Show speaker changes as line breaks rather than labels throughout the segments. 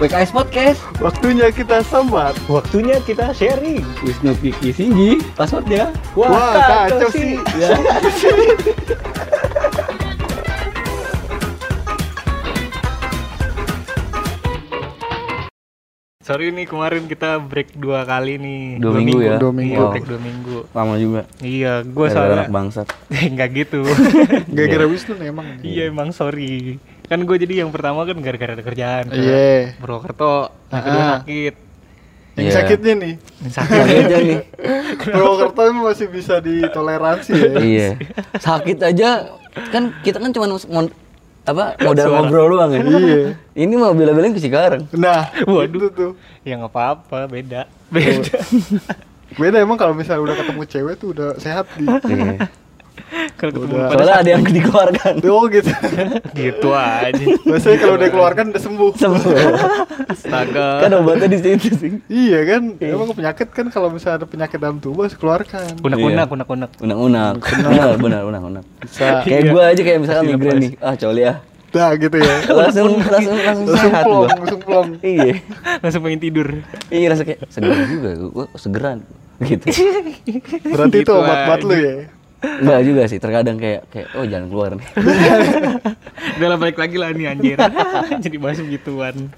WKS Podcast
Waktunya kita sambat.
Waktunya kita sharing.
Wisnu Vicky Singgi Passwordnya
Wah, kacau sih.
ya.
Sorry nih kemarin kita break dua kali nih.
Dua minggu ya?
Dua
Dua
minggu.
minggu. Iya,
Wow.
break dua minggu.
Lama juga
Oh,
Iya, gue
Gara-gara
soalnya
anak bangsat
nggak gitu.
Iya.
Gara-gara Wisnu nih emang. nih.
iya emang sorry. Kan gue jadi yang pertama kan gara-gara ada kerjaan.
Iya.
Purwokerto, yang kedua
Ah.
sakit.
Yang
Iya.
sakitnya nih.
Yang Sakit.
Lagi aja nih
Purwokerto masih bisa ditoleransi ya.
Iya Sakit aja Kan kita kan cuma mon- apa modal
Suara.
ngobrol doang ya
Iya.
Ini mau bela-belain ke Cikarang
Nah,
Waduh.
itu tuh.
ya nggak apa-apa, beda. Beda.
Beda emang kalau misalnya udah ketemu cewek tuh udah sehat di.
Iya.
Kalau ketemu
Udah.
pada
Soalnya ada yang dikeluarkan
Oh gitu.
gitu aja.
Biasanya kalau udah keluarkan udah sembuh.
Semua
Astaga.
Kan obatnya di situ sih
Iya kan, emang penyakit kan kalau misalnya ada penyakit dalam tubuh harus keluarkan.
Iya.
Unek-unek, unek-unek.
Unak-unak Benar, benar, unak-unak
Bisa.
Kayak
Iya.
gue aja kayak misalkan
Hasil
migrain nih Ah coli ah
Nah gitu ya.
Langsung, langsung, langsung
Langsung
sehat
plong,
gua
langsung plong.
Iya
Langsung pengen tidur.
Iya rasa kayak seger juga, gue segeran gitu.
Berarti itu
Gitu
obat-obat
aja.
lu ya.
Enggak juga sih, terkadang kayak kayak oh jangan keluar nih.
Udah lah balik lagi lah nih anjir Jadi bahas begituan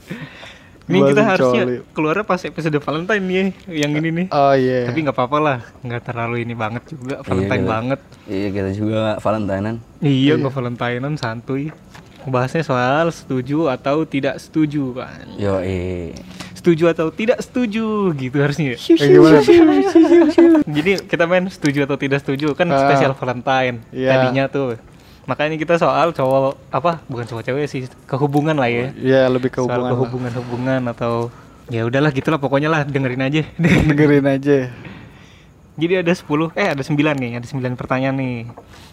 Ini kita
Bahasin
harusnya
coli.
keluarnya pas episode Valentine nih Yang ini nih
Oh iya.
Tapi nggak apa-apa lah Nggak terlalu ini banget juga Valentine
gitu.
banget
Iya kita juga Valentinean.
Iya nggak Valentinean santuy Bahasnya soal setuju atau tidak setuju kan
Yo eh.
Setuju atau tidak setuju gitu harusnya
Kayak gimana?
Jadi kita main setuju atau tidak setuju Kan
Ah.
spesial Valentine
Iya.
Tadinya tuh Makanya kita soal cowok apa bukan cowok cewek sih kehubungan lah ya
Iya lebih ke
soal
hubungan.
kehubungan hubungan atau ya udahlah gitulah pokoknya lah dengerin aja
dengerin aja
jadi ada 10 eh ada 9 nih ada 9 pertanyaan nih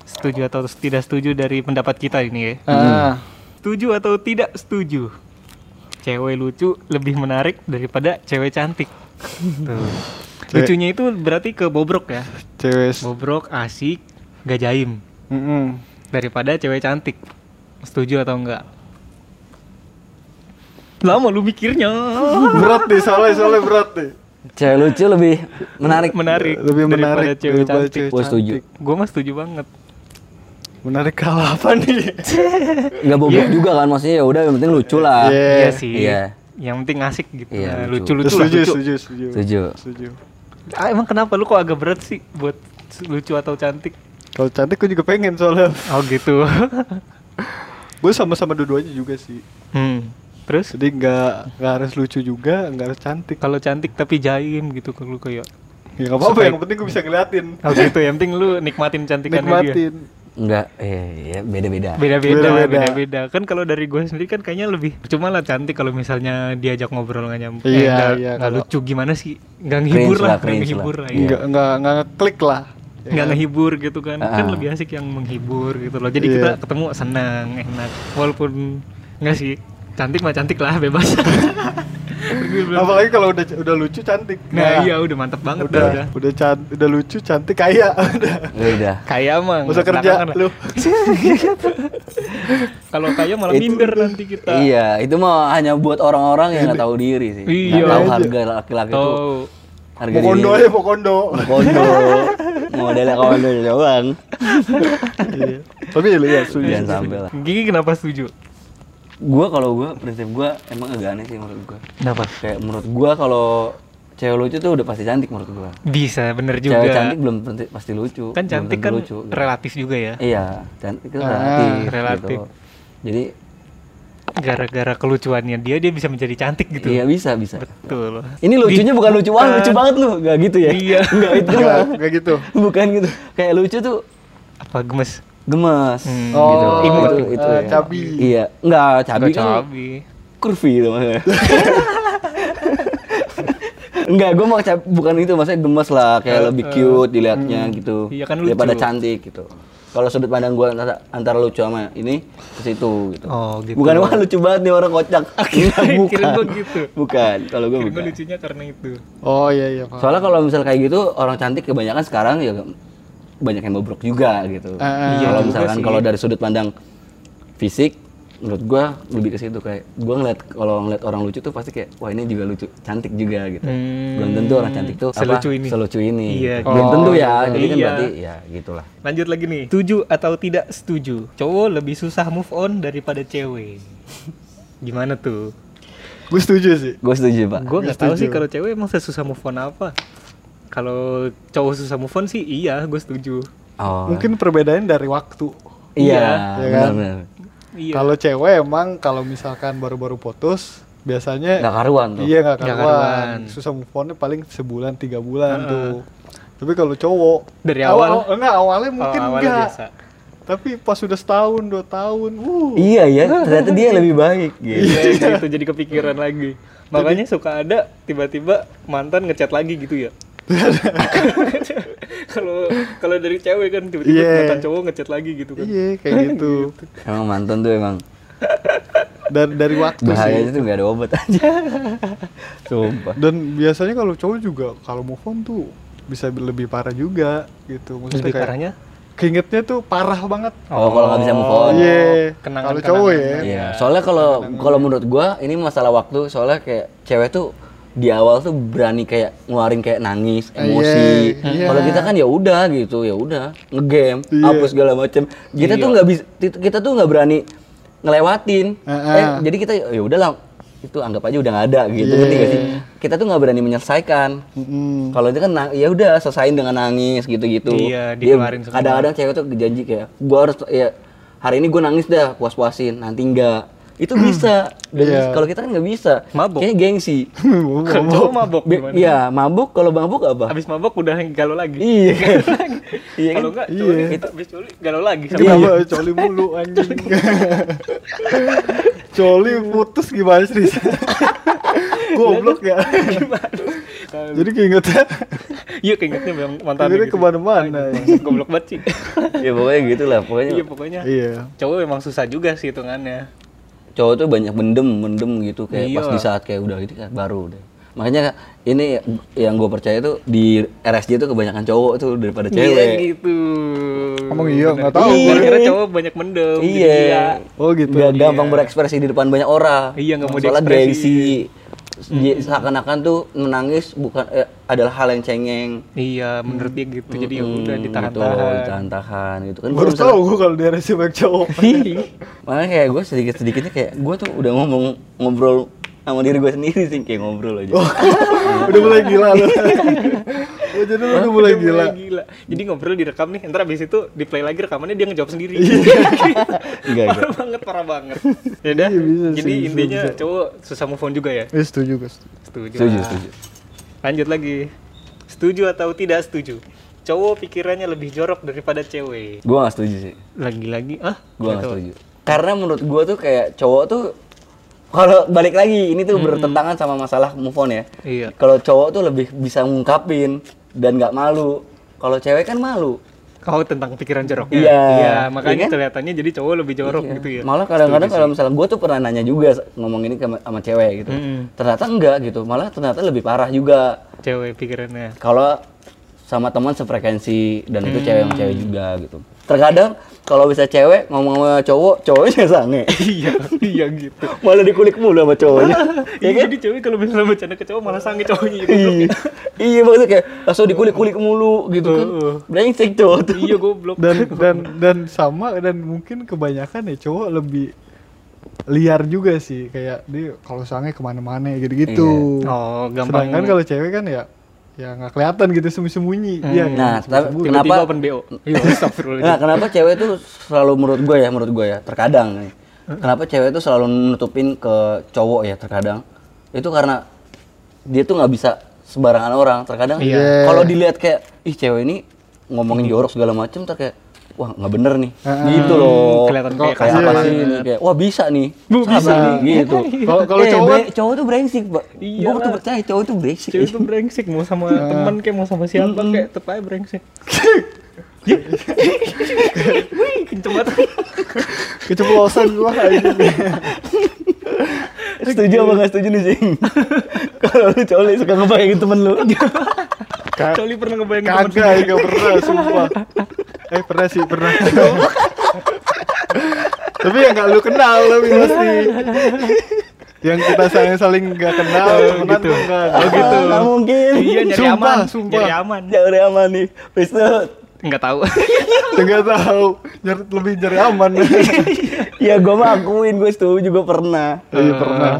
setuju atau tidak setuju dari pendapat kita ini ya
ah
setuju atau tidak setuju cewek lucu lebih menarik daripada cewek cantik Tuh.
Cewek-
lucunya itu berarti ke bobrok ya
cewek s-
bobrok asik gak jaim
Mm-mm.
daripada cewek cantik setuju atau enggak lama lu mikirnya
berat nih soalnya soalnya berat nih
Cewek lucu lebih menarik.
menarik
lebih menarik
daripada cewek
daripada
cantik.
Gua setuju.
cantik.
Gue mah setuju banget.
menarik kalau apa nih
Enggak bobok juga kan maksudnya ya udah yang penting lucu lah.
Iya.
Iya sih.
Iya.
Yang penting asik gitu.
Iya,
Nah, lucu
lucu.
lucu lah
setuju,
lucu.
setuju setuju
Setuju.
setuju
Ah, emang kenapa lu kok agak berat sih buat lucu atau cantik?
kalau cantik gue juga pengen soalnya
Oh gitu.
gue sama-sama dua-duanya juga sih
hmm. Terus
jadi nggak nggak harus lucu juga nggak harus cantik
kalau cantik tapi jaim gitu kalau lu kayak
ya nggak apa-apa
Supaya-
yang penting gue bisa ngeliatin
Oh gitu, yang penting lu nikmatin cantikannya dia.
nikmatin
Enggak, eh iya, beda-beda.
Beda-beda,
Beda-beda.
beda-beda. Kan kalau dari gue sendiri kan kayaknya lebih cuma lah cantik kalau misalnya diajak ngobrol nggak
Iya,
nyambung. nggak-
iya,
nggak
kalau-
lucu gimana sih? Nggak ngehibur
Cringe
lah,
lah,
nggak
cringe
ngehibur
lah.
lah.
Iya.
nggak nggak nggak ngeklik lah ya
nggak
kan?
ngehibur gitu kan kan
Ah.
lebih asik yang menghibur gitu loh jadi
Iya.
kita ketemu senang enak walaupun nggak sih cantik mah cantik lah bebas
apalagi kalau udah udah lucu cantik
nah iya udah mantep banget dah,
udah
udah
udah can- udah lucu cantik kaya udah
Beda.
kaya mah
Masa
nggak
kerja
belakangan lah.
lu
kalau kaya malah
Itu-
minder nanti kita
Iya, itu mah hanya buat orang-orang yang nggak tahu diri sih.
Iya.
Nggak tahu harga laki-laki itu.
Tuh.
Harga
mau kondo
ya,
diri.
aja mau kondo
Kondo. Modelnya kondo doang.
Iya. Tapi ya, iya, setuju.
Jangan sampai lah.
gigi kenapa setuju
Gua kalau gua prinsip gua emang agak aneh sih menurut gua.
kenapa
Kayak menurut gua kalau cewek lucu tuh udah pasti cantik menurut gua.
bisa bener
Cewek
juga
cantik belum tentu- pasti lucu.
kan
belum
cantik
tentu
kan
lucu. gitu.
relatif juga ya
Iya, cantik itu
Ah,
relatif.
relatif.
gitu. Jadi
gara-gara kelucuannya dia dia bisa menjadi cantik gitu
iya bisa bisa.
betul
Ini lucunya bukan lucu banget, lucu banget lu. Enggak gitu ya.
Iya.
Enggak itu.
Enggak, enggak gitu.
bukan gitu. Kayak lucu tuh
apa gemes
gemes
Hmm.
Oh,
gitu. itu
eh,
itu ya.
cabi.
Iya, enggak cabi
Nggak
kan
cabi.
kurvi itu maksudnya. Enggak, gue mau cap- bukan itu maksudnya gemes lah, kayak lebih cute dilihatnya gitu.
Eh, Iya kan lucu.
Daripada cantik gitu. Kalau sudut pandang gue antara, antara lucu sama ini ke situ gitu.
Oh, gitu.
Bukan wah lucu banget nih orang kocak. Enggak,
kirain
bukan.
gua gitu.
Bukan, kalau gue
Kira
bukan.
lucunya karena itu.
Oh iya iya. Pak.
Soalnya kalau misal kayak gitu orang cantik kebanyakan sekarang ya banyak yang bobrok juga gitu.
Ah,
iya
kalau
juga
misalkan
sih.
kalau dari sudut pandang fisik menurut gua lebih ke situ kayak gua ngeliat kalau ngeliat orang lucu tuh pasti kayak wah ini juga lucu cantik juga gitu
Hmm.
belum tentu orang cantik tuh apa,
Selucu ini.
selucu ini
Iya,
belum
gitu.
tentu
Oh,
ya
iya.
jadi kan
Iya.
berarti ya gitulah
Lanjut lagi nih. Setuju atau tidak setuju? Cowok lebih susah move on daripada cewek. Gimana tuh?
Gue setuju sih.
gua setuju pak
Gue nggak tahu
setuju.
sih kalau cewek emang sesusah move on apa. Kalau cowok susah move on sih iya, gue setuju.
oh
Mungkin perbedaannya dari waktu.
iya
ya
iya kan?
benar-benar
Iya.
Kalau cewek emang kalau misalkan baru-baru putus biasanya
nggak karuan tuh
iya nggak
Nggak
karuan.
karuan.
Susah move onnya paling sebulan tiga bulan tuh. Tapi kalau cowok
Dari awal?
enggak awalnya mungkin
Kalau awalnya
enggak.
biasa.
Tapi pas sudah setahun dua tahun, wuh.
iya ya ternyata dia lebih baik gitu
Iya, itu, itu jadi kepikiran lagi. Makanya suka ada tiba-tiba mantan ngechat lagi gitu ya. Kalau kalau dari cewek kan tiba-tiba
Iya.
mantan cowok ngechat lagi gitu kan.
Iya kayak gitu.
emang mantan tuh emang
Dari dari waktu sih.
bahayanya tuh nggak ada obat aja sumpah
Dan biasanya kalau cowok juga kalau move on tuh bisa lebih parah juga gitu. Maksudnya
Lebih
kayak
parahnya?
keingetnya tuh parah banget.
oh kalau nggak bisa move on
Iya.
kenangan-
Kalau cowok ya.
Iya. Soalnya kalau kalau menurut gua ini masalah waktu. Soalnya kayak cewek tuh di awal tuh berani kayak ngeluarin kayak nangis,
Ah,
emosi.
iya, iya.
Kalau kita kan ya udah gitu, ya udah ngegame,
Iya.
hapus segala macem. Kita tuh nggak bisa, kita tuh nggak berani ngelewatin.
Ah,
Eh,
ah.
jadi kita ya udahlah itu anggap aja udah nggak ada gitu ngerti nggak sih? Kita tuh nggak berani menyelesaikan.
Mm-mm.
Kalau itu kan na- ya udah selesain dengan nangis gitu-gitu.
Iya,
Dia
dikeluarin semua.
Kadang-kadang cewek tuh janji kayak gua harus ya hari ini gua nangis dah, puas-puasin, nanti enggak. Itu bisa. Dan
Iya.
Kalau kita kan nggak bisa.
Mabuk.
Kayaknya gengsi.
Kalau "Kan cowok mabok
Be-
gimana?
Iya, mabuk kalau mabuk apa?
Habis mabok udah galau lagi.
Iya. kan? Iya kan?
Kalau enggak, coli, habis coli galau lagi.
Kenapa Iya, coli mulu anjing? coli putus gimana sih? Riz? Goblok ya. Jadi ya? keingetnya
Iya keingetnya memang mantan
jadi kemana-mana.
Goblok banget sih.
Ya pokoknya gitulah, pokoknya
Iya pokoknya.
Iya.
Cowok memang susah juga sih hitungannya.
cowok tuh banyak mendem, mendem gitu kayak
Iya.
pas di saat kayak udah gitu kan baru deh. Makanya ini yang gue percaya tuh di RSJ tuh kebanyakan cowok tuh daripada
Iya
cewek.
gitu.
Emang iya,
Bener.
nggak tahu
Iya,
gua.
Kira cowok banyak mendem. jadi ya-
Iya.
Oh, gitu.
Nggak gampang berekspresi di depan banyak orang.
Iya, nggak mau
Soalnya
diekspresi. Hmm.
gengsi. Dia Seakan-akan tuh menangis bukan eh, adalah hal yang cengeng.
Iya, menurut dia gitu. Jadi ya udah
Hmm, Gitu,
ditahan-tahan.
ditahan-tahan gitu kan.
Baru
gua bisa-
tahu gue kalau daerah sih banyak cowok.
Makanya kayak gue sedikit-sedikitnya kayak gue tuh udah ngomong ngobrol sama diri gue sendiri sih kayak ngobrol aja.
Oh. udah mulai gila lu. Oh, jadi lu udah mulai
Dia
gila.
Jadi ngobrol direkam nih, ntar abis itu di play lagi rekamannya dia ngejawab sendiri.
Enggak, enggak.
parah banget, parah banget. Ya udah.
Iya, bisa sih,
Jadi
bisa,
intinya
bisa.
cowok susah move on juga ya.
Eh setuju guys.
Setuju.
Setuju,
lah.
setuju.
Lanjut lagi. Setuju atau tidak setuju? Cowok pikirannya lebih jorok daripada cewek.
Gue gak setuju sih.
Lagi-lagi ah,
Gue gak setuju. Karena menurut gue tuh kayak cowok tuh kalau balik lagi ini tuh bertentangan sama masalah move on ya.
Iya.
Kalau cowok tuh lebih bisa ngungkapin dan nggak malu. Kalau cewek kan malu.
Kau tentang pikiran joroknya.
Iya. Iya
makanya
kan?
kelihatannya jadi cowok lebih jorok
Iya.
gitu ya.
Malah kadang-kadang kalau misalnya gue tuh pernah nanya juga s- ngomong ini ke- sama cewek gitu.
Mm-mm.
Ternyata enggak gitu. Malah ternyata lebih parah juga
Cewek pikirannya.
kalau sama teman sefrekuensi dan
Hmm.
itu cewek sama cewek juga gitu. Terkadang kalau bisa cewek ngomong sama cowok, cowoknya sange.
iya, iya gitu.
Malah dikulik mulu sama cowoknya.
Iya, jadi cewek kalau misalnya bercanda ke cowok malah sange cowoknya gitu.
iya iya maksudnya kayak langsung dikulik-kulik mulu gitu kan
Heeh.
brengsek cowok tuh
iya goblok.
Dan dan dan sama dan mungkin kebanyakan ya cowok lebih liar juga sih kayak dia kalau sange kemana-mana gitu-gitu.
Iya. Oh, gampang.
Sedangkan kalau cewek kan ya ya nggak kelihatan gitu sembunyi-sembunyi.
Hmm,
Iya.
Nah,
kan?
tapi
Sembunyi-sembunyi.
tiba-tiba
kenapa-
open BO. Iya, astagfirullah.
nah kenapa cewek tuh selalu menurut gue ya menurut gue ya terkadang nih kenapa cewek tuh selalu nutupin ke cowok ya terkadang itu karena dia tuh nggak bisa sembarangan orang terkadang
Iya.
kalau dilihat kayak ih cewek ini ngomongin jorok segala macem tuh kayak wah nggak bener nih
Ah,
Heeh.
gitu loh
Kelihatan
kayak,
kayak
apa
kasar
sih
banget.
ini kayak wah bisa nih
Bu,
Sabar
bisa.
nih, gitu
Kalau- kalau
Eh,
cowok-
bre- cowok tuh brengsek pak
kan- Iya
gue tuh
lah.
percaya cowok tuh brengsek
cewek tuh brengsek mau sama
Ah.
teman kayak mau sama siapa kayak tetep aja brengsek. Ya. Wih, kenceng banget.
keceplosan gua anjing.
setuju apa nggak setuju nih Jing? kalau lu cowok lu suka ngebayangin temen lu
Ka-
Coli pernah ngebayangin teman
Ah, Kagak, ya, nggak pernah, sumpah. Eh pernah sih, pernah. tapi yang gak lu kenal tapi pasti yang kita saling saling gak kenal temenan
gitu.
tuh enggak
Oh, gitu.
Ah, nggak mungkin.
Iya nyari
Sumpah,
aman,
sumpah.
nyari aman.
Jauh dari aman nih. Habis itu
Enggak tahu.
nggak tahu nyari lebih nyari aman
ya gue mah akuin gue setuju gue pernah.
iya pernah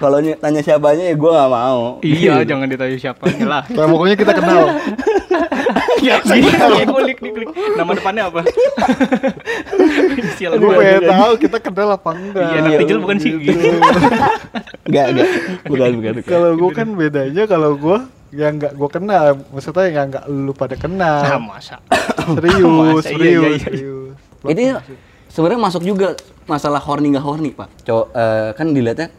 Kalau ny- tanya siapanya ya gue nggak mau.
iya, jangan ditanya siapa lah.
Nah, pokoknya kita kenal Iya,
Ya, saya kulik diklik. Nama depannya apa? Sial
gue
gua.
pengen tahu kita kenal apa enggak
Iya, anak tijil bukan sih.
Enggak, enggak. Bukan, bukan. bukan.
kalau gue kan bedanya kalau gue yang nggak gue kenal maksudnya yang nggak lu pada
Ah,
kenal
masa.
serius serius
Masa? Iya, iya, iya.
serius
Ini sebenarnya masuk juga masalah horny nggak horny pak. Cowok eh, kan dilihatnya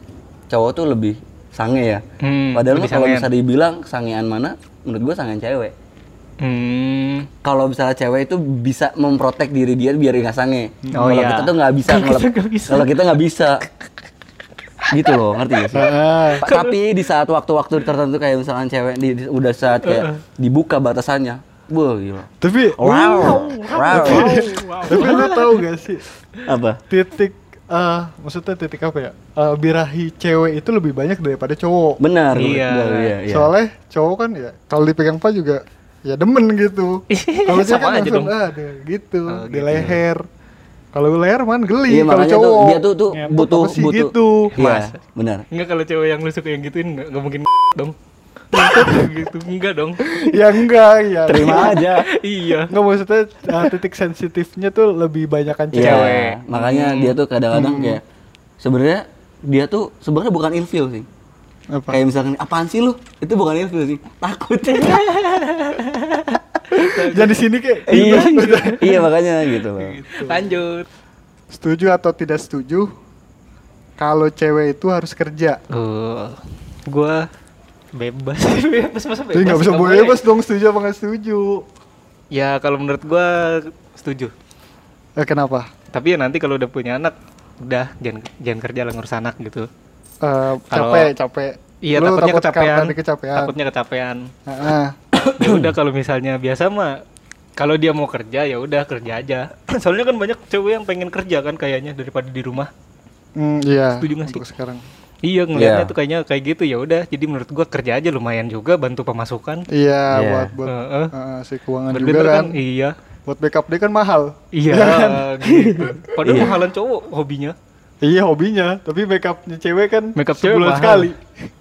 cowok tuh lebih sange ya.
Hmm,
Padahal mah
lebih
kalau
sangean.
bisa dibilang sangean mana, menurut gue sangean cewek.
Hmm.
Kalau misalnya cewek itu bisa memprotek diri dia biar nggak sange.
Oh,
kalau
iya.
kita tuh nggak bisa.
Kalau kita
ngelep-
nggak bisa.
Kalau kita nggak bisa. gitu loh, ngerti gak sih?
Ah,
Pa- tapi di saat waktu-waktu tertentu kayak misalkan cewek di, di- udah saat kayak dibuka batasannya. Wah, gila.
tapi
Wow. Wow.
tapi lu tahu gak sih
Apa?
titik eh maksudnya titik apa ya Eh, birahi cewek itu lebih banyak daripada cowok
Benar.
Iya.
benar, iya, iya.
soalnya cowok kan ya kalau dipegang pa juga ya demen gitu kalau cewek kan
Iya, Sama aja
langsung
dong.
ah deh, gitu
Oh,
di
gitu.
leher kalau leher man geli
Iya
kalau
makanya
cowok
tuh dia tuh tuh
ngentot
butuh
apa sih
butuh
gitu
Iya,
Mas.
benar.
Enggak kalau cewek yang lu suka yang gituin enggak enggak mungkin dong. gitu enggak dong.
ya enggak ya
Terima aja.
Iya.
Nggak maksudnya uh, titik sensitifnya tuh lebih banyak kan
Iya,
cewek.
makanya
Hmm.
dia tuh kadang-kadang kayak sebenarnya dia tuh sebenarnya bukan infil sih.
Apa?
Kayak misalkan apaan sih lu? Itu bukan infil sih. Takut.
Iya,
Jadi sini kayak
iya, iya makanya gitu loh.
Lanjut.
setuju atau tidak setuju kalau cewek itu harus kerja.
Eh, gua bebas. bebas masa bebas.
Jadi nggak bisa
Nggak boleh.
bebas dong setuju apa nggak setuju.
Ya kalau menurut gua setuju.
Eh, kenapa?
Tapi ya nanti kalau udah punya anak, udah jangan jangan kerja lah ngurus anak gitu.
Eh,
Kalau-
capek, capek.
Iya
Lu
takutnya
takut
kecapean.
Nanti kecapean.
Takutnya kecapean.
Heeh.
ya udah kalau misalnya biasa mah kalau dia mau kerja ya udah kerja aja. Soalnya kan banyak cewek yang pengen kerja kan kayaknya daripada di rumah.
Hmm, iya.
Setuju nggak sih?
Untuk sekarang.
Iya ngeliatnya
Iya.
tuh kayaknya kayak gitu ya udah. Jadi menurut gua kerja aja lumayan juga bantu pemasukan.
Iya,
Iya.
buat buat
Heeh.
eh, si keuangan juga
Bener
kan.
kan? Iya.
Buat backup dia kan mahal.
Iya gitu. Padahal
Iya.
mahalan cowok hobinya.
Iya hobinya, tapi backupnya cewek kan
Makeup cewek
sebulan
mahal.
sekali.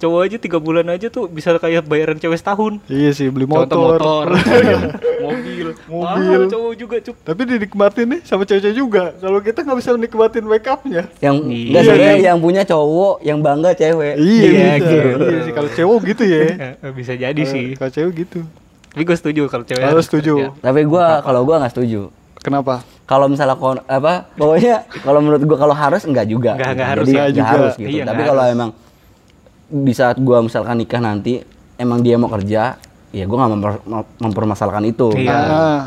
Cowok aja tiga bulan aja tuh bisa kayak bayaran cewek setahun.
Iya sih beli
Contoh
motor.
motor, Iya. mobil,
Mobil.
Mahal cowok juga cup.
Tapi dinikmatin nih sama cewek-cewek juga. Kalau kita nggak bisa nikmatin wake upnya.
Yang
Iya.
enggak sebenarnya yang punya cowok yang bangga cewek.
Iya,
Iya, bisa.
gitu.
Iya sih kalau cewek gitu ya.
Eh, eh, bisa jadi sih. Iya,
Kalau- Kalau cewek gitu.
Tapi gue setuju kalau cewek.
Kalau
harus kerja.
setuju.
Tapi gua kalau gua nggak setuju.
Kenapa?
Kalau misalnya kon- apa pokoknya kalau menurut gua kalau harus enggak juga.
Enggak, enggak
Jadi
harus,
enggak juga.
harus gitu.
Iya,
Tapi
enggak
kalau
harus.
emang di saat gua misalkan nikah nanti emang dia mau kerja, ya gua nggak memper- mem- mempermasalahkan itu.
Iya.
Ah,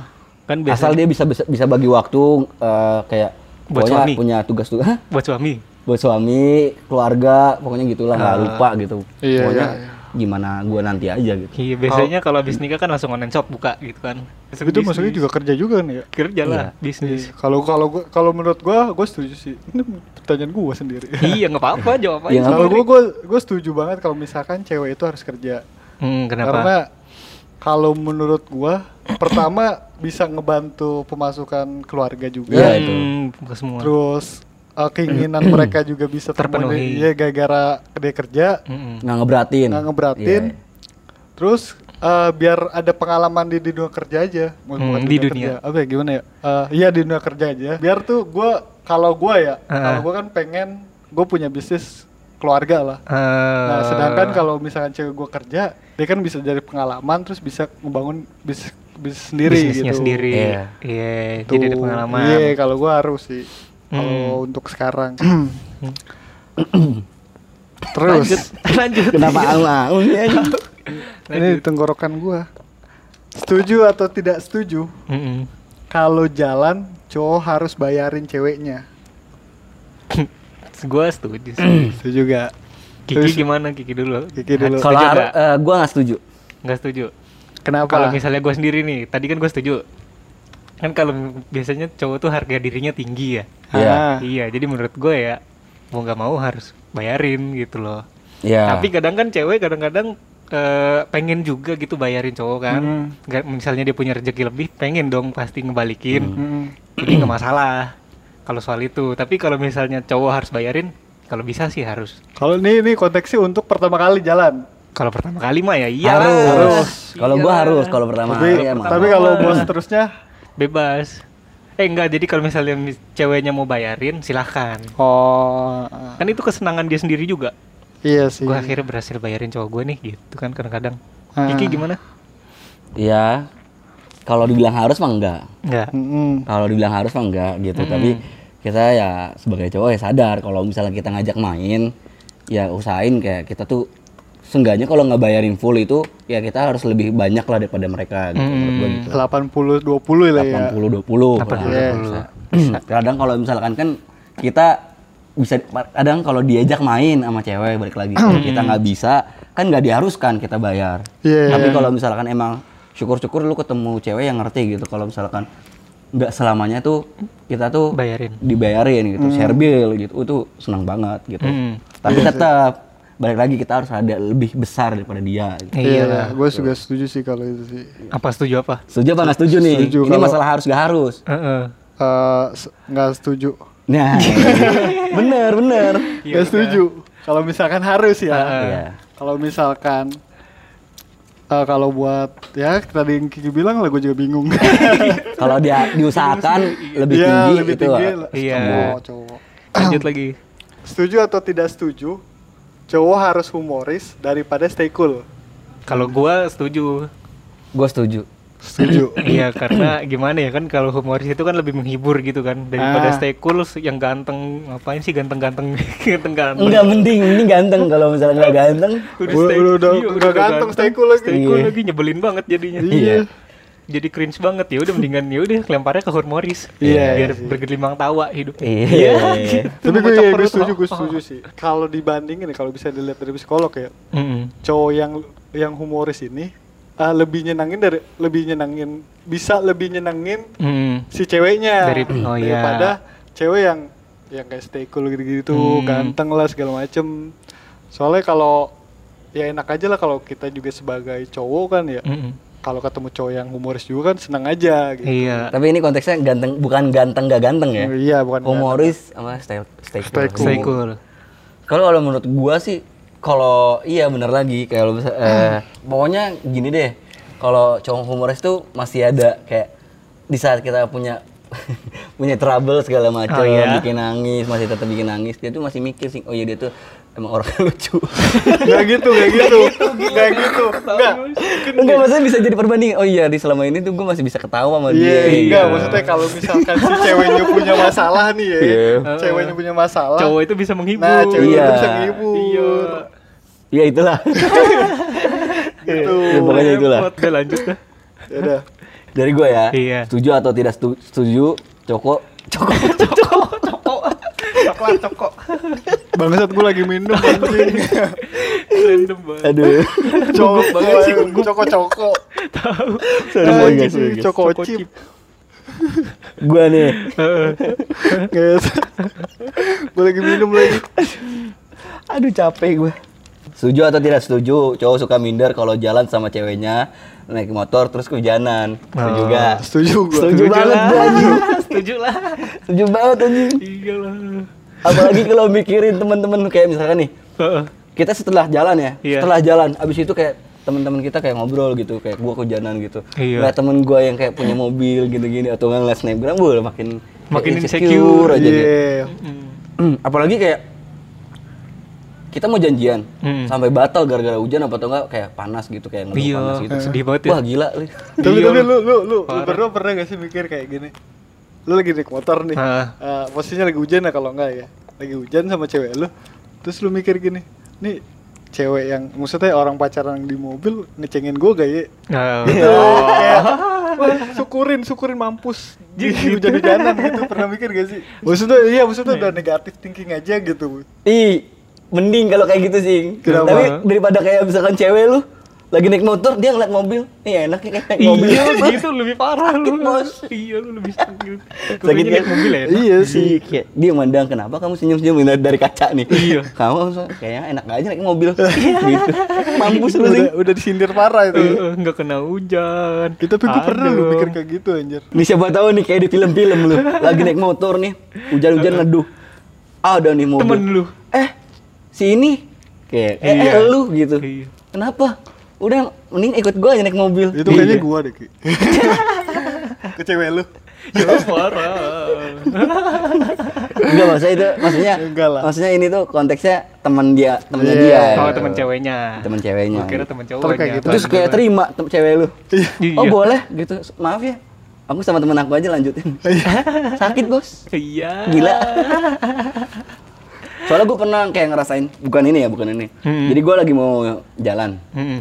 Kan biasa
Asal dia bisa bisa, bisa bagi waktu eh, kayak
Buat
pokoknya
suami.
punya tugas-tugas Hah?
buat suami.
buat suami, keluarga, pokoknya gitulah
Ah.
nggak lupa gitu.
Iya,
pokoknya
iya,
gimana gua nanti aja gitu.
Iya, biasanya kalau habis nikah kan langsung online shop buka gitu kan. Langsung
itu
bisnis.
maksudnya juga kerja juga nih ya.
kerja lah bisnis.
Iya. Kalau kalau gua- kalau menurut gua, gua setuju sih. Ini pertanyaan gua sendiri.
Iya, nggak apa-apa jawab aja.
Iya, nggak
Kalau gua, gua gua setuju banget kalau misalkan cewek itu harus kerja.
Hmm, kenapa?
Karena kalau menurut gua, pertama bisa ngebantu pemasukan keluarga juga.
Iya, itu.
Hmm, buka semua.
Terus uh, keinginan mereka juga bisa
Terpenuhi. Hmm.
terpenuhi. Iya, gara-gara dia kerja
Mm-mm.
Nggak ngeberatin.
nggak ngeberatin.
Iya.
Terus uh, biar ada pengalaman di, di dunia kerja aja. Mau-
Hmm,
bukan
di dunia.
Kerja. Apa ya, gimana ya? Uh, iya di dunia kerja aja. Biar tuh gua kalau gua ya,
Ah.
kalau gua kan pengen gue punya bisnis keluarga lah.
Eh,
Nah, sedangkan kalau misalkan cewek gue kerja, dia kan bisa dari pengalaman terus bisa membangun bis bisnis sendiri
bisnisnya
gitu.
sendiri.
Iya.
Iya, jadi ada pengalaman. Hmm.
Iya, kalau gue harus sih. Kalau untuk sekarang. terus
Lanjut, lanjut.
Kenapa angung ya?
ini tenggorokan gue. Setuju atau tidak setuju?
Mm-mm.
Kalau jalan cowok harus bayarin ceweknya.
Gua setuju sih.
Setuju gak?
Kiki gimana? Kiki dulu.
Kiki dulu.
Kalau
Setuju
har-
nggak?
eh, gua nggak setuju.
Nggak setuju.
Kenapa?
Kalau misalnya gue sendiri nih, tadi kan gue setuju. kan kalau biasanya cowok tuh harga dirinya tinggi ya
Iya.
Ah.
iya jadi menurut gue ya mau nggak mau harus bayarin gitu loh
Ya.
Iya.
tapi kadang kan cewek kadang-kadang eh, pengen juga gitu bayarin cowok kan
Hmm.
Nggak- misalnya dia punya rezeki lebih pengen dong pasti ngebalikin
Mm.
jadi nggak masalah kalau soal itu tapi kalau misalnya cowok harus bayarin kalau bisa sih harus
Kalau nih nih konteksnya untuk pertama kali jalan.
kalau pertama kali mah ya iya
harus. Kalau gua harus kalau pertama
Tapi
kali emang.
tapi kalau bos terusnya
bebas eh enggak jadi kalau misalnya mis- ceweknya mau bayarin silahkan
oh
kan itu kesenangan dia sendiri juga
iya sih.
gue akhirnya berhasil bayarin cowok gue nih gitu kan kadang-kadang
Ah.
Kiki gimana
Iya. Kalau dibilang harus mah enggak.
enggak
Mm-mm.
Kalau dibilang harus mah enggak gitu. Tapi kita ya sebagai cowok ya sadar kalau misalnya kita ngajak main ya usahain kayak kita tuh seenggaknya kalau nggak bayarin full itu ya kita harus lebih banyak lah daripada mereka gitu menurut gua
Iya.
gitu.
80 20 lah ya.
80 20 kurang
Iya.
lebih bisa. kadang kalau misalkan kan kita bisa kadang kalau diajak main sama cewek balik lagi kalau kita nggak bisa kan nggak diharuskan kita bayar
Iya.
tapi kalau misalkan emang syukur-syukur lu ketemu cewek yang ngerti gitu kalau misalkan nggak selamanya tuh kita tuh
bayarin
dibayarin gitu share bill gitu itu senang banget gitu
Hmm.
tapi tetap balik lagi kita harus ada lebih besar daripada dia gitu.
iya lah.
Iya, gue juga setuju sih kalau itu sih.
apa setuju apa
setuju apa nggak setuju nih
Setuju,
ini
kalau-
masalah harus gak harus
Heeh.
Eh, se- nggak setuju.
Nah, bener bener.
Nggak setuju. Kalau misalkan harus ya.
Iya.
Kalau misalkan eh, kalau buat ya tadi yang Kiki bilang lah gue juga bingung.
Kalau dia diusahakan lebih
Iya,
tinggi
lebih
gitu.
tinggi
ah.
lah.
Iya.
Cowok, cowok.
lanjut lagi
Setuju atau tidak setuju? Cowok harus humoris daripada stay cool.
kalau gua setuju
Gua setuju.
Setuju.
Iya karena gimana ya kan kalau humoris itu kan lebih menghibur gitu kan daripada
Ah.
stay cool yang ganteng ngapain sih ganteng-ganteng ganteng-ganteng
Enggak penting, ini ganteng kalau misalnya nggak ganteng.
udah,
Udah-
stay,
udah- udah-
iya,
udah ganteng, stay cool lagi.
stay cool
Iya.
lagi nyebelin banget jadinya
Iya.
jadi cringe banget ya udah mendingan ya udah lemparnya ke humoris
Iya,
biar
iya.
bergelimang tawa hidup
Iya.
Tapi gue,
Memecah
iya, gue
perut,
setuju,
oh,
gue
oh.
setuju sih. Kalau dibandingin ya, kalau bisa dilihat dari psikolog ya,
Mm-mm.
cowok yang yang humoris ini eh, lebih nyenangin dari lebih nyenangin bisa lebih nyenangin
Mm-mm.
si ceweknya
Dari- oh iya.
daripada cewek yang yang kayak stay cool gitu-gitu
Hmm.
ganteng lah segala macem soalnya kalau ya enak aja lah kalau kita juga sebagai cowok kan ya
Mm-mm.
kalau ketemu cowok yang humoris juga kan senang aja gitu
iya
Tapi ini konteksnya ganteng bukan ganteng gak ganteng ya.
iya bukan
Humoris sama stay stay
Stay
cool.
cool.
stay cool
Kalau kalau menurut gua sih kalau iya bener lagi kayak lo bisa
Hmm.
eh, pokoknya gini deh. Kalau cowok humoris tuh masih ada kayak di saat kita punya punya trouble segala macam
Oh, iya?
bikin nangis masih tetap bikin nangis dia tuh masih mikir sih oh iya dia tuh emang orang lucu
gak gitu gak gitu gak gitu gak
enggak maksudnya bisa jadi perbanding oh iya di selama ini tuh gue masih bisa ketawa sama dia
Iya, enggak maksudnya kalau misalkan si ceweknya punya masalah nih ya,
Iya.
ceweknya punya masalah.
cowok itu bisa menghibur
nah, cewek
Iya.
itu bisa ngibur.
ya itulah
Gitu.
Ya, pokoknya itulah
Repot. Udah, lanjut dah
Ya udah.
dari gue ya
Iya.
setuju atau tidak setu- setuju coko coko
coklat cokok
Bangsat gue lagi minum anjing.
random banget
aduh
Coko banget sih Coko coko.
sorry sorry guys, sorry, guys.
Coko chip.
gue nih
Eh,
eh,
Guys. gue lagi minum lagi.
aduh capek gue setuju atau tidak setuju cowok suka minder kalau jalan sama ceweknya naik motor terus kehujanan setuju
Oh.
gak
Setuju gue.
setuju banget gue anjing
setuju lah
setuju banget anjing
iya lah
apalagi kalau mikirin teman-teman kayak misalkan nih
Heeh.
kita setelah jalan ya
Iya.
setelah jalan abis itu kayak teman-teman kita kayak ngobrol gitu kayak gua kehujanan gitu
Iya.
Ngeliat temen gua yang kayak punya mobil gini-gini atau nggak ngeliat snapgram gua udah makin
Makin
kayak
insecure,
aja
Iya.
gitu.
Hmm.
apalagi kayak kita mau janjian
Hmm.
sampai batal gara-gara hujan apa atau enggak kayak panas gitu kayak ngeluh
Iya,
panas gitu
sedih banget ya.
wah gila li.
Tapi
Iya,
tapi
lu.
lu lu lu, lu
Parah.
berdua pernah gak sih mikir kayak gini? Lu lagi naik motor nih.
Heeh.
Eh, posisinya lagi hujan ya kalau enggak ya. Lagi hujan sama cewek lu. Terus lu mikir gini, nih cewek yang maksudnya orang pacaran di mobil ngecengin gue gak ya?
Iya.
Nah,
Gitu. Kayak, "Wah, syukurin, syukurin mampus. Di
Gitu.
hujan-hujanan gitu pernah mikir gak sih? Maksudnya iya, maksudnya udah negatif thinking aja gitu.
ih mending kalau kayak gitu sih
Kenapa?
tapi daripada kayak misalkan cewek lu lagi naik motor dia ngeliat mobil nih enak nih kayak naik mobil
Iya
Bos.
gitu lebih parah lu.
Bos.
Iya lu lebih sakit.
Sakit
Sakit naik
kan?
mobil ya.
Iya sih.
Iya, kayak dia mandang kenapa kamu senyum-senyum dari, dari kaca nih?
Iya.
Kamu so- kayaknya enak aja naik mobil. gitu. Mampus lu sih.
Udah, udah disindir parah itu.
Enggak Eh, kena hujan.
Ya, tapi gue pernah lu
Uh, Aduh.
mikir kayak gitu anjir.
Nih siapa tahu nih kayak di film-film lu. Lagi naik motor nih, hujan-hujan ngeduh. Ada nih mobil.
temen lu.
Eh, si ini kayak eh,
Iya.
eh, lu gitu.
Iya.
Kenapa? Udah mending ikut gua aja naik mobil. Gitu.
Itu
Iya.
kayaknya gua deh, Ki. Ke cewek lu.
Ya parah.
Enggak maksudnya itu maksudnya
Enggak lah.
maksudnya ini tuh konteksnya teman dia, temennya
Iya.
dia.
Oh temen ceweknya.
Eh, Temen ceweknya.
Gua kira temen
Terus kayak
cowoknya.
gitu.
Terus kayak terima tem- cewek lu.
Iya.
Oh boleh gitu. Maaf ya. Aku sama temen aku aja lanjutin. Sakit bos.
Iya.
Gila. Soalnya gue pernah kayak ngerasain bukan ini ya bukan ini.
Hmm.
Jadi gue lagi mau jalan,
Mm-mm.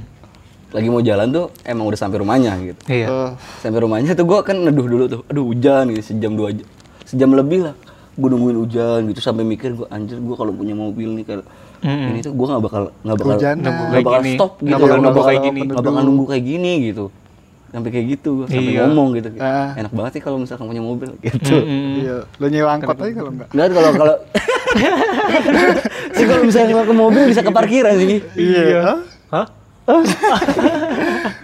lagi mau jalan tuh emang udah sampai rumahnya gitu.
Iya.
Eh,
Sampai rumahnya tuh gue kan neduh dulu tuh. Aduh hujan gitu sejam dua jam, sejam lebih lah. Gue nungguin hujan gitu sampai mikir gue anjir gue kalau punya mobil nih kalau
Mm-mm.
ini tuh gue nggak bakal nggak bakal
Hujanan.
nggak
Nunggu kayak
bakal
gini.
stop gitu
Nggak bakal
nggak
nunggu
bakal
kayak gini.
nggak bakal nunggu kayak gini gitu sampai kayak gitu gue sampai
Iya.
ngomong gitu
Ah.
enak banget sih kalau misalkan punya mobil gitu
Mm-mm.
Iya, lu nyewa angkot aja kalau enggak.
Enggak kalau kalau sih kalau misalnya kalau ke mobil bisa ke parkiran sih.
Iya.
Hah?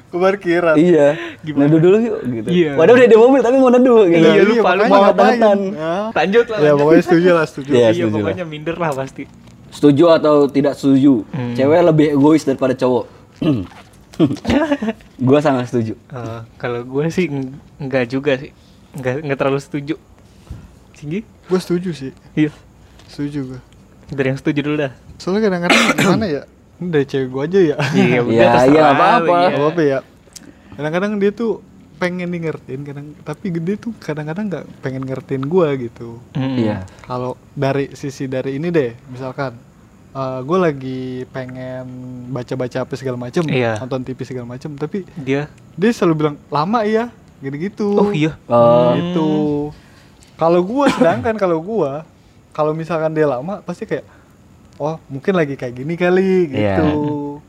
Ke parkiran.
Iya.
Gimana?
Neduh dulu yuk gitu.
Iya.
Padahal udah ada mobil tapi mau neduh gitu.
Iya, lu lupa, lu
makanya
mau
ngapain.
datang.
Hah?
Lanjut lah.
Ya
lanjut.
pokoknya setuju lah, setuju.
Iya.
Iya
setuju lah.
pokoknya minder lah pasti.
Setuju atau tidak setuju?
Hmm.
Cewek lebih egois daripada cowok. gua sangat setuju.
Eh, kalau gue sih eng- enggak juga sih. Enggak enggak terlalu setuju. Singgi?
Gue setuju sih.
Iya.
Setuju gue.
Dari yang setuju dulu dah.
Soalnya kadang-kadang gimana ya? Ini dari cewek gue aja ya.
Iya,
Iya, iya,
terserah
apa-apa.
lu, iya.
Gak apa-apa ya. Kadang-kadang dia tuh pengen di ngertiin kadang tapi gede tuh kadang-kadang nggak pengen ngertiin gue gitu
Mm.
Iya.
kalau dari sisi dari ini deh misalkan gue lagi pengen baca-baca apa segala macem
Iya.
nonton TV segala macem tapi
Dia.
dia selalu bilang lama iya gitu-gitu
Oh iya.
Eh,
gitu kalau gue sedangkan kalau gue kalau misalkan dia lama pasti kayak oh mungkin lagi kayak gini kali
Iya.
gitu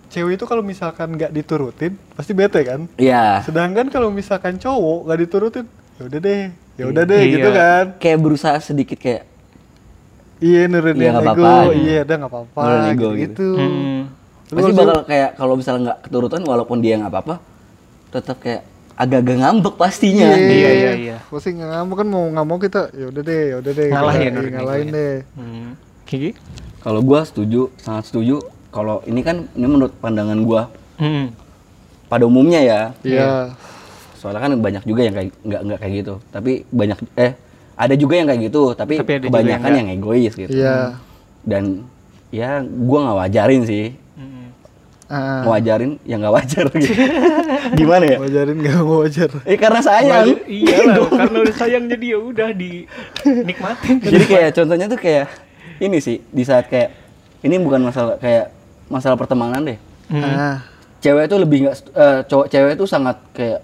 cewek itu kalau misalkan nggak diturutin pasti bete kan
Iya.
sedangkan kalau misalkan cowok nggak diturutin ya udah deh ya udah deh
Iya.
gitu kan
Kayak berusaha sedikit kayak
Iya nurunin
Iya, nggak
ego,
apa-apa.
iya udah nggak apa-apa
Nurunin ego
gitu.
gitu.
gitu.
Mm.
Lu
pasti
harus-
bakal kayak kalau misalnya nggak keturutan walaupun dia nggak apa-apa tetap kayak agak-agak ngambek pastinya.
Iya, iya, iya.
Pasti nggak ngamuk kan mau nggak mau kita, ya udah deh, ya udah deh. gitu.
Ngalah ya,
Iya,
nurunin
ngalahin
egonya.
deh.
Mm. Gigi?
Kalau gua setuju, sangat setuju. Kalau ini kan ini menurut pandangan gua
Mm.
pada umumnya ya.
Iya.
Soalnya kan banyak juga yang kayak nggak nggak kayak gitu. Tapi banyak eh ada juga yang kayak gitu, tapi,
Tapi ada juga
kebanyakan
yang
yang, egois gitu.
Iya.
Dan ya gua nggak wajarin sih.
Mm.
Ah,
Mau wajarin yang nggak wajar gitu. Gimana ya?
wajarin nggak mau wajar.
Eh karena sayang.
Wajar- Iya lah, karena udah sayang jadi ya udah dinikmatin.
Jadi kayak contohnya tuh kayak ini sih di saat kayak ini bukan masalah kayak masalah pertemanan deh.
Mm.
Ah,
cewek tuh lebih nggak st- eh, cowok cewek tuh sangat kayak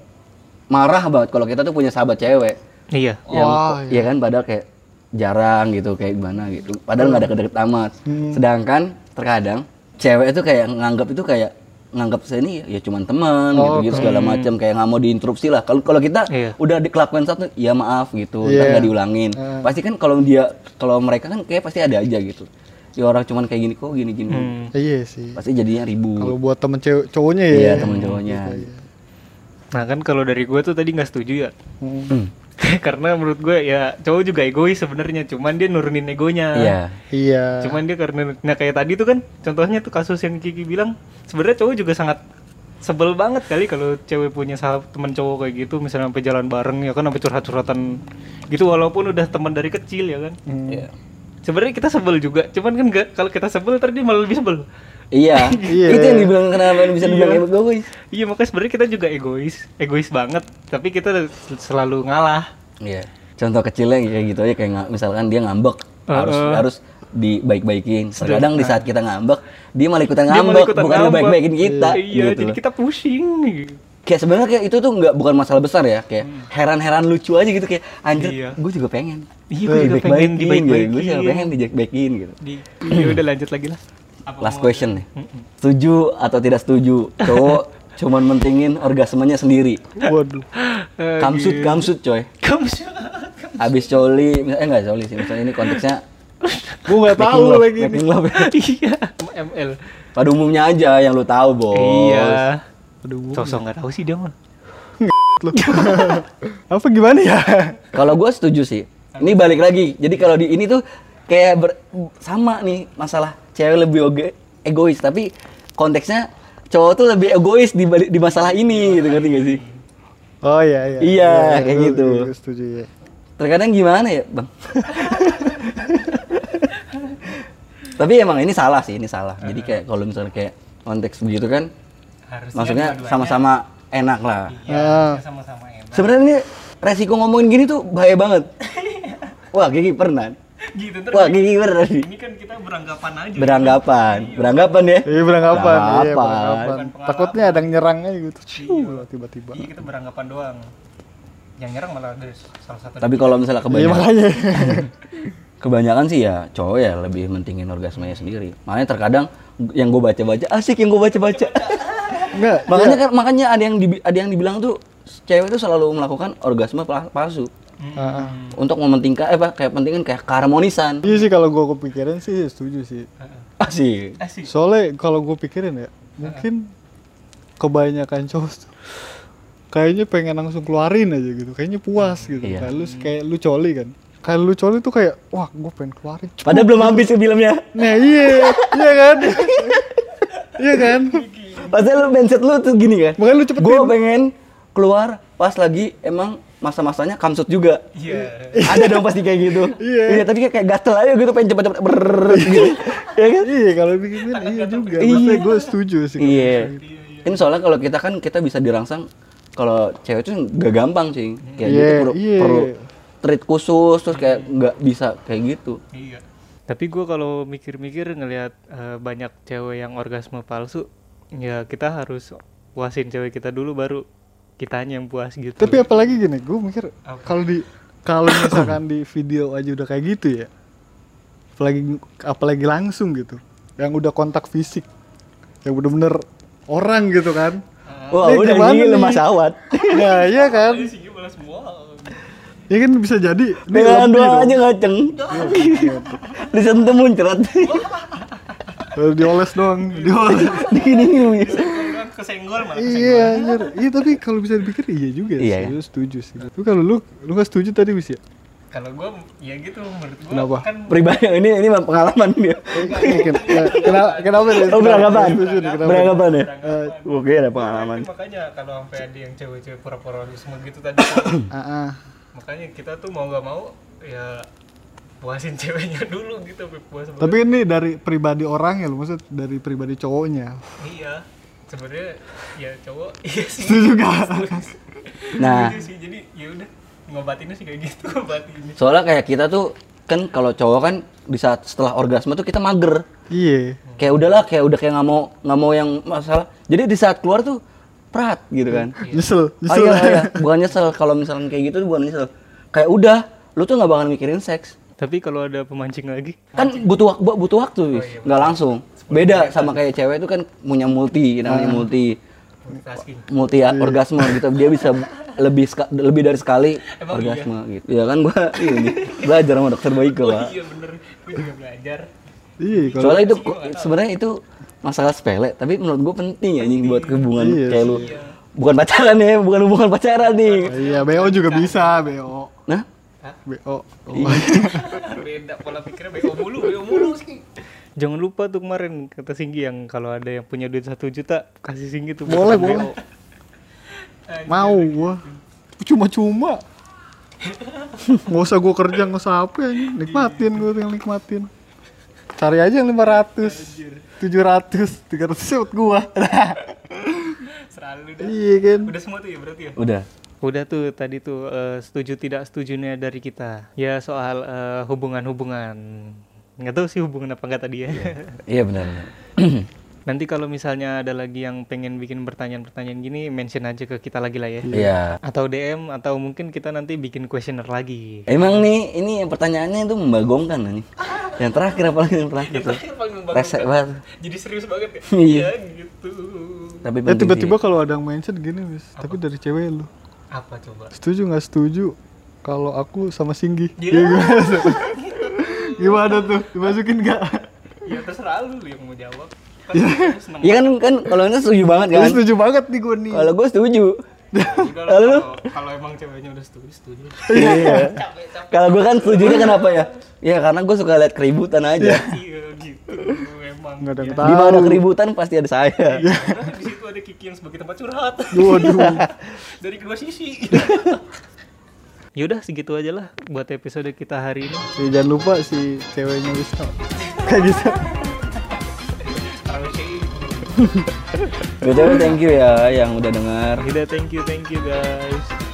marah banget kalau kita tuh punya sahabat cewek
Iya.
yang
Wah,
ya kan padahal kayak jarang gitu kayak gimana gitu padahal nggak ada deket amat sedangkan terkadang cewek itu kayak nganggap itu kayak nganggap saya ini ya cuman teman gitu gitu segala macam kayak nggak mau diinterupsi lah kalau kalau kita
Iya.
udah dikelakuin satu ya maaf gitu ntar
Iya.
nggak diulangin pasti kan kalau dia kalau mereka kan kayak pasti ada aja gitu ya orang cuman kayak gini kok gini gini
Mm.
iya sih.
pasti jadinya ribut
Kalau buat temen cewek cowoknya ya.
iya temen cowoknya
Nah kan kalau dari gue tuh tadi nggak setuju ya.
Hmm.
Hmm.
karena menurut gue ya cowok juga egois sebenarnya, cuman dia nurunin egonya.
Iya.
Iya.
Cuman dia karena nah kayak tadi tuh kan contohnya tuh kasus yang Kiki bilang sebenarnya cowok juga sangat sebel banget kali kalau cewek punya sahabat teman cowok kayak gitu misalnya sampai jalan bareng ya kan sampai curhat-curhatan gitu walaupun udah teman dari kecil ya kan.
Iya.
Sebenarnya kita sebel juga, cuman kan nggak kalau kita sebel ntar dia malah lebih sebel.
Iya.
Iya.
Itu yang dibilang kenapa bisa dibilang egois guys.
Iya makanya sebenarnya kita juga egois, egois banget, tapi kita selalu ngalah.
Iya. Contoh kecilnya kayak gitu aja kayak nga- misalkan dia ngambek harus harus dibaik-baikin. Kadang di saat kita ngambek, dia malah ikutan
Nah. Dia malah
ngambek,
ikutan
bukan
ngambek.
baik-baikin kita
iya,
gitu.
jadi kita pusing.
Kayak sebenarnya kayak itu tuh nggak bukan masalah besar ya, kayak heran-heran lucu aja gitu kayak anjir,
Hmm. Iya.
gue juga pengen.
Iya, gue juga pengen dibaik-baikin. Iya.
Gue juga iya, pengen dibaik-baikin gitu.
Di, ya udah lanjut lagi lah. hmm.
Last question nih. Setuju atau tidak setuju cowok cuman mentingin orgasmenya sendiri
Waduh.
Iya,
kamsut kamsut coy
Eh, kamu sih
abis coli misalnya eh, enggak coli sih misalnya ini konteksnya
Gua nggak
making
tahu
love,
lagi ini.
making love.
iya ml
pada umumnya aja yang lu tahu bos
iya
Aduh.
sosok nggak tahu sih dia mah
lu. Apa gimana ya?
Kalau gue setuju sih. Ini balik lagi. Jadi kalau di ini tuh kayak ber- sama nih masalah cewek lebih oge, egois, tapi konteksnya cowok tuh lebih egois di balik- di masalah ini gitu ngerti gak sih?
Oh iya iya.
Iya, kayak
gua-
gitu.
gua Setuju ya.
Terkadang gimana ya, Bang? tapi emang ini salah sih, ini salah. Jadi kayak kalau misalnya kayak konteks begitu kan
harusnya
maksudnya sama-sama enak lah.
Ah.
sama-sama enak
Sebenarnya ini resiko ngomongin gini tuh bahaya banget. Wah, Gigi pernah.
gitu ntar
Wah, Gigi pernah sih.
ini kan kita beranggapan aja
beranggapan beranggapan ya
Iya beranggapan, iya
Beranggapan.
beranggapan. Takutnya ada yang nyerang aja gitu. Ciu, tiba-tiba.
iya kita beranggapan doang yang nyerang malah ada salah satu
tapi kalau misalnya
Iya
kebanyakan
makanya.
kebanyakan sih ya cowok ya lebih mentingin orgasmenya sendiri makanya terkadang yang gue baca baca asik yang gue baca baca
Enggak.
makanya kan makanya ada yang dibi- ada yang dibilang tuh cewek itu selalu melakukan orgasme pal- palsu
Heeh.
untuk mementingkan eh apa kayak pentingin kayak keharmonisan
ah. Hmm. Iya sih kalau gua kepikiran sih setuju sih.
asik
asik
Soalnya kalau gue pikirin ya, mungkin kebanyakan cowok tuh kayaknya pengen langsung keluarin aja gitu, kayaknya puas gitu.
Iya.
Kayak lu kayak lu coli kan. Kayak lu coli tuh kayak wah, gue pengen keluarin.
padahal belum habis tuh filmnya
Nah, iya, iya kan? iya kan?
padahal lu mindset lu tuh gini kan
Makanya lu cepetin.
gue pengen keluar pas lagi emang masa-masanya kamsut juga
iya
ada dong pasti kayak gitu
Iya.
tapi kayak, kayak gatel aja gitu pengen cepet-cepet brrrr gitu ya kan
Iya, kalau pikirin iya juga.
Iya.
Maksudnya gue setuju sih. kalau
iya
kayak gitu.
ini soalnya kalau kita kan kita bisa dirangsang kalau cewek itu nggak gampang sih kayak
Iya,
gitu perlu
iya.
perlu treat khusus terus kayak nggak bisa kayak gitu
Iya. Tapi gue kalau mikir-mikir ngelihat eh, banyak cewek yang orgasme palsu, ya kita harus puasin cewek kita dulu baru kitanya yang puas gitu.
Tapi apalagi gini, gue mikir kalau di kalau misalkan di video aja udah kayak gitu ya. Apalagi apalagi langsung gitu. Yang udah kontak fisik. Yang bener-bener orang gitu kan.
wah
Nih,
udah
gimana
ini
nih?
lemas awat
Nah, iya kan. Ya kan bisa jadi ini gitu.
dengan
lebih
dua
dong.
aja ngaceng
Iya,
disentuh muncrat
Baru dioles doang, dioles.
gini gini
kesenggol
iya, anjir. Iya, tapi kalau bisa dipikir iya juga
Iya,
sih.
kan?
Gue setuju sih. Tapi kalau lu lu gak setuju tadi bisa ya?
Kalau gue ya gitu menurut gue
Kenapa?
kan
pribadi ini ini mah pengalaman dia
Kenapa Nah, kenapa?
oh beranggapan
Setuju, kenapa?
beranggapan ya
Eh,
oke ada pengalaman
Itu gitu. makanya kalau sampai ada yang cewek-cewek pura-pura semua gitu tadi,
Ah, ah.
makanya kita tuh mau nggak mau ya puasin ceweknya dulu gitu sampai puas banget.
Tapi ini dari pribadi orang ya, lu maksud dari pribadi cowoknya.
Iya. Sebenarnya ya cowok iya sih.
Setuju gak?
Nah.
Setuju sih. Jadi ya udah ngobatinnya sih kayak gitu ngobatinnya.
Soalnya kayak kita tuh kan kalau cowok kan di saat setelah orgasme tuh kita mager.
Iya.
Kayak udahlah kayak udah kayak nggak mau nggak mau yang masalah. Jadi di saat keluar tuh perat gitu kan.
Nyesel,
Oh
nyesel.
iya, iya. bukan nyesel kalau misalnya kayak gitu tuh bukan nyesel. Kayak udah lu tuh nggak bakal mikirin seks.
Tapi kalau ada pemancing lagi,
Kan butuh wak- bu- butuh waktu, Wis. nggak langsung. Beda sama kayak cewek itu kan punya multi, namanya multi
multitasking.
multi orgasme gitu. Dia bisa lebih seka- lebih dari sekali orgasme gitu. Ya kan gua ini belajar sama dokter Baiko, Pak.
Iya bener, gue juga belajar.
Iya, kalau
soalnya itu sebenarnya itu masalah sepele tapi menurut gue penting ya anjing buat hubungan
Iya
kayak lu bukan pacaran ya bukan hubungan pacaran nih
iya BO juga bisa, BO.
nah
BO.
Iya.
Beda pola pikirnya BO mulu, BO mulu sih. Jangan lupa tuh kemarin kata Singgi yang kalau ada yang punya duit satu juta kasih Singgi tuh
Boleh,
BO.
boleh. Mau gua. Cuma-cuma. Nggak usah gua kerja, nggak usah apa ya. Nikmatin gua tinggal nikmatin. Cari aja yang 500, 700, 300 sih buat gua.
Selalu dah.
iya kan.
Udah semua tuh ya berarti ya.
udah
Udah tuh tadi tuh eh, setuju tidak setujunya dari kita. Ya soal eh, hubungan-hubungan. Nggak tahu sih hubungan apa nggak tadi ya.
iya benar benar.
Nanti kalau misalnya ada lagi yang pengen bikin pertanyaan-pertanyaan gini mention aja ke kita lagi lah ya.
iya
Atau DM atau mungkin kita nanti bikin kuesioner lagi.
emang nih ini yang pertanyaannya itu membagongkan nih yang terakhir apalagi yang terakhir tuh
Terakhir paling membanggakan.
resek banget
Jadi serius banget ya.
Iya.
gitu.
tapi
Eh
penting
tiba-tiba
sih.
kalau ada yang mention gini, Wis. Tapi dari cewek lu.
Apa coba?
Setuju nggak setuju kalau aku sama Singgi?
Gila.
Ya, gimana tuh? Gimana tuh? Dimasukin nggak?
Ya terserah lu lu yang mau jawab. Kan kamu seneng
iya kan kan kalau ini setuju banget
Lu
kan
setuju banget nih gue nih.
kalau gue setuju
juga lah
Lalu lu?
kalau- kalau emang ceweknya udah setuju setuju.
iya
Capek capek
kalau gue kan setujunya kenapa ya ya karena gue suka lihat keributan aja
iya gitu emang.
Nggak ada yang
Ya,
di mana
tahu.
keributan pasti ada saya
karena kan di situ ada Kiki yang sebagai tempat curhat
Waduh.
dari kedua sisi. Yaudah segitu aja lah buat episode kita hari ini.
Ya, jangan lupa si ceweknya Wisnu. Kayak gitu.
Terlalu sih.
Btw thank you ya yang udah dengar
Yaudah thank you thank you guys.